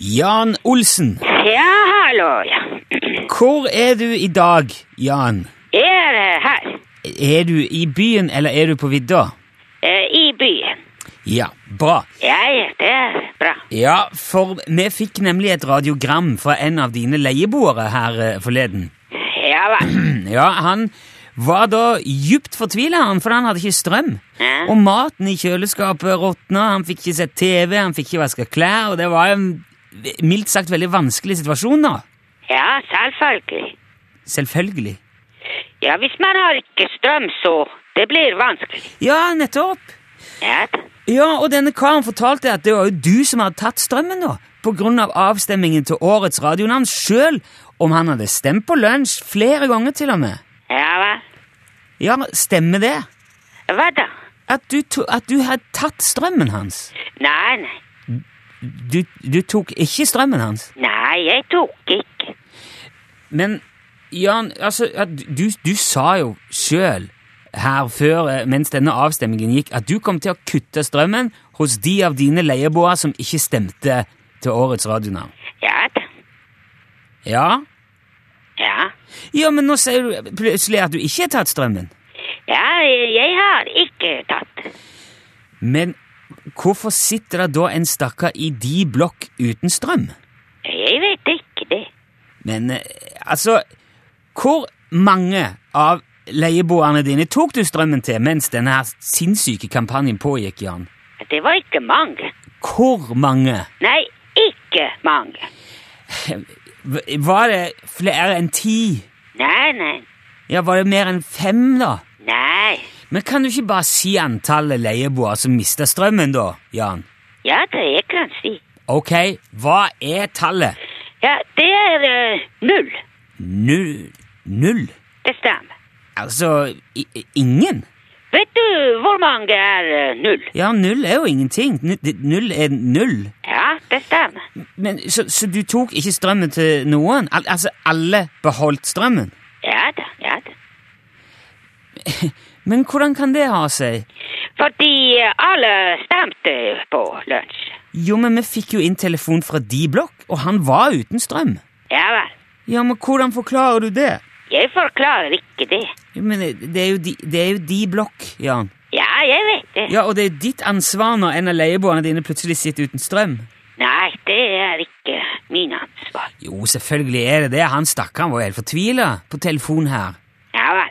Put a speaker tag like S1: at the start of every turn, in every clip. S1: Jan Olsen.
S2: Ja, hallo, ja.
S1: Hvor er du i dag, Jan?
S2: Er eh, her,
S1: Er du i byen, eller er du på vidda?
S2: eh, i byen.
S1: Ja, bra.
S2: Ja, ja, det er bra.
S1: Ja, for vi fikk nemlig et radiogram fra en av dine leieboere her eh, forleden.
S2: Ja vel.
S1: Ja, han var da djupt fortvila, han, for han hadde ikke strøm.
S2: Ja.
S1: Og maten i kjøleskapet råtna, han fikk ikke sett TV, han fikk ikke vaska klær, og det var en mildt sagt veldig vanskelig situasjon, da.
S2: Ja, selvfølgelig.
S1: Selvfølgelig.
S2: Ja, hvis man har ikke strøm, så det blir vanskelig.
S1: Ja, nettopp.
S2: Ja, da.
S1: Ja, og denne karen fortalte at det var jo du som hadde tatt strømmen nå, på grunn av avstemmingen til årets radionavn selv, om han hadde stemt på lunsj flere ganger til og med.
S2: ja vel.
S1: Ja, stemmer det?
S2: Hva da?
S1: At du, to, at du hadde tatt strømmen hans?
S2: Nei, nei.
S1: Du, du tok ikke strømmen hans?
S2: Nei, jeg tok ikke.
S1: Men, Jan, altså, at du, du sa jo selv her før, eh, mens denne avstemmingen gikk, at du kom til å kutte strømmen hos de av dine leieboere som ikke stemte til årets radionavn.
S2: Ja da.
S1: Ja?
S2: Ja.
S1: Ja, men nå sier du plutselig at du ikke har tatt strømmen.
S2: Ja, jeg jeg har ikke tatt.
S1: Men hvorfor sitter det da en stakkar i de blokk uten strøm?
S2: Jeg vet ikke det.
S1: Men eh, altså Hvor mange av leieboerne dine tok du strømmen til mens denne her sinnssyke kampanjen pågikk, Jan?
S2: Det var ikke mange.
S1: Hvor mange?
S2: Nei, ikke mange.
S1: V- Var det flere enn ti?
S2: Nei, nei.
S1: Ja, var det mer enn fem, da?
S2: Nei.
S1: Men kan du ikke bare si antallet leieboere som mista strømmen, da, Jan?
S2: Ja, det jeg kan si.
S1: Ok, hva er tallet?
S2: Ja, det er eh, null.
S1: Null? Null?
S2: Det stemmer.
S1: Altså, i, i- ingen?
S2: Vet du hvor mange er eh, null?
S1: Ja, null er jo ingenting. Nu- det- Null er null.
S2: Ja, det stemmer.
S1: Men, så, så du tok ikke strømmen til noen? Al altså, alle beholdt strømmen?
S2: Ja da, ja da.
S1: Men hvordan kan det ha seg?
S2: Fordi eh, alle stemte på lunsj.
S1: Jo, men vi fikk jo inn telefon fra de blokk, og han var uten strøm.
S2: Ja vel.
S1: Ja, men hvordan forklarer du det?
S2: Jeg forklarer ikke det.
S1: Jo, men det er jo de, det er jo de blokk, Jan.
S2: Ja, jeg vet det.
S1: Ja, og det er ditt ansvar når en av leieboerne dine plutselig sitter uten strøm.
S2: Nei, det er ikke min ansvar.
S1: Jo, selvfølgelig er det det. Han stakkaren var jo helt fortvila på telefon her.
S2: Ja vel.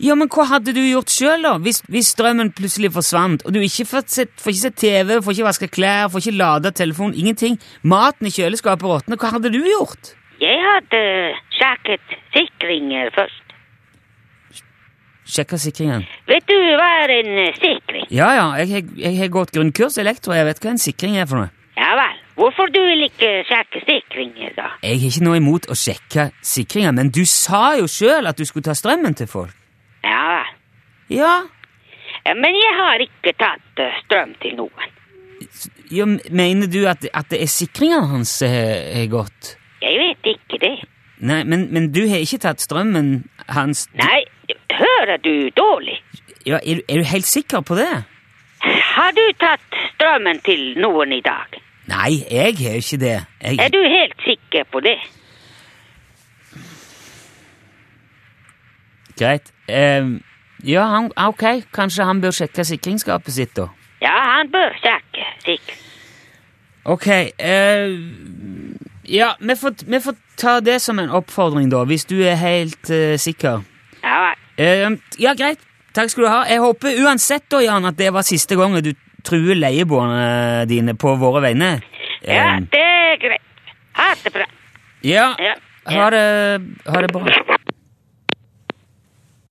S1: Ja, men hva hadde du gjort sjøl, da? Hvis, hvis strømmen plutselig forsvant, og du ikke får sett, får ikke sett TV, får ikke vaska klær, får ikke lada telefonen, ingenting. Maten i kjøleskapet råtner. Hva hadde du gjort?
S2: Jeg hadde eh, sjekket sikringer først.
S1: Sjekka sikringen.
S2: Vet du hva er en eh, sikring?
S1: Ja ja, jeg, jeg, jeg har gått grunnkurs i elektro, jeg vet hva en sikring er for noe.
S2: Ja vel. Hvorfor du vil ikke sjekke sikringer, da?
S1: Jeg har ikke noe imot å sjekke sikringen, men du sa jo sjøl at du skulle ta strømmen til folk.
S2: Ja vel.
S1: Ja,
S2: Eh, Men jeg har ikke tatt eh, strøm til noen.
S1: jo, mener du at, at det er sikringen hans som har har gått?
S2: Jeg vet ikke det.
S1: Nei, men, men du har ikke tatt strømmen hans?
S2: Nei, hører du dårlig?
S1: Ja, er, du- er du helt sikker på det?
S2: Har du tatt strømmen til noen i dag?
S1: Nei, jeg har jo ikke det. Jeg,
S2: Er du helt sikker på det?
S1: Greit. Ehm, ja, han, ok, kanskje han bør sjekke sikringsskapet sitt, da.
S2: Ja, han bør sjekke, sikkert.
S1: Ok, eh, ja, vi får, vi får ta det som en oppfordring, da, hvis du er helt eh, sikker.
S2: Ja, vel.
S1: Eh, ja, greit. Takk skal du ha. Jeg håper uansett da, Jan, at det var siste gangen du truer leieboerne dine på våre vegne.
S2: ja,
S1: Eh,
S2: det er greit. Ha det bra.
S1: ja.
S2: Ja.
S1: Ha det, ha det bra.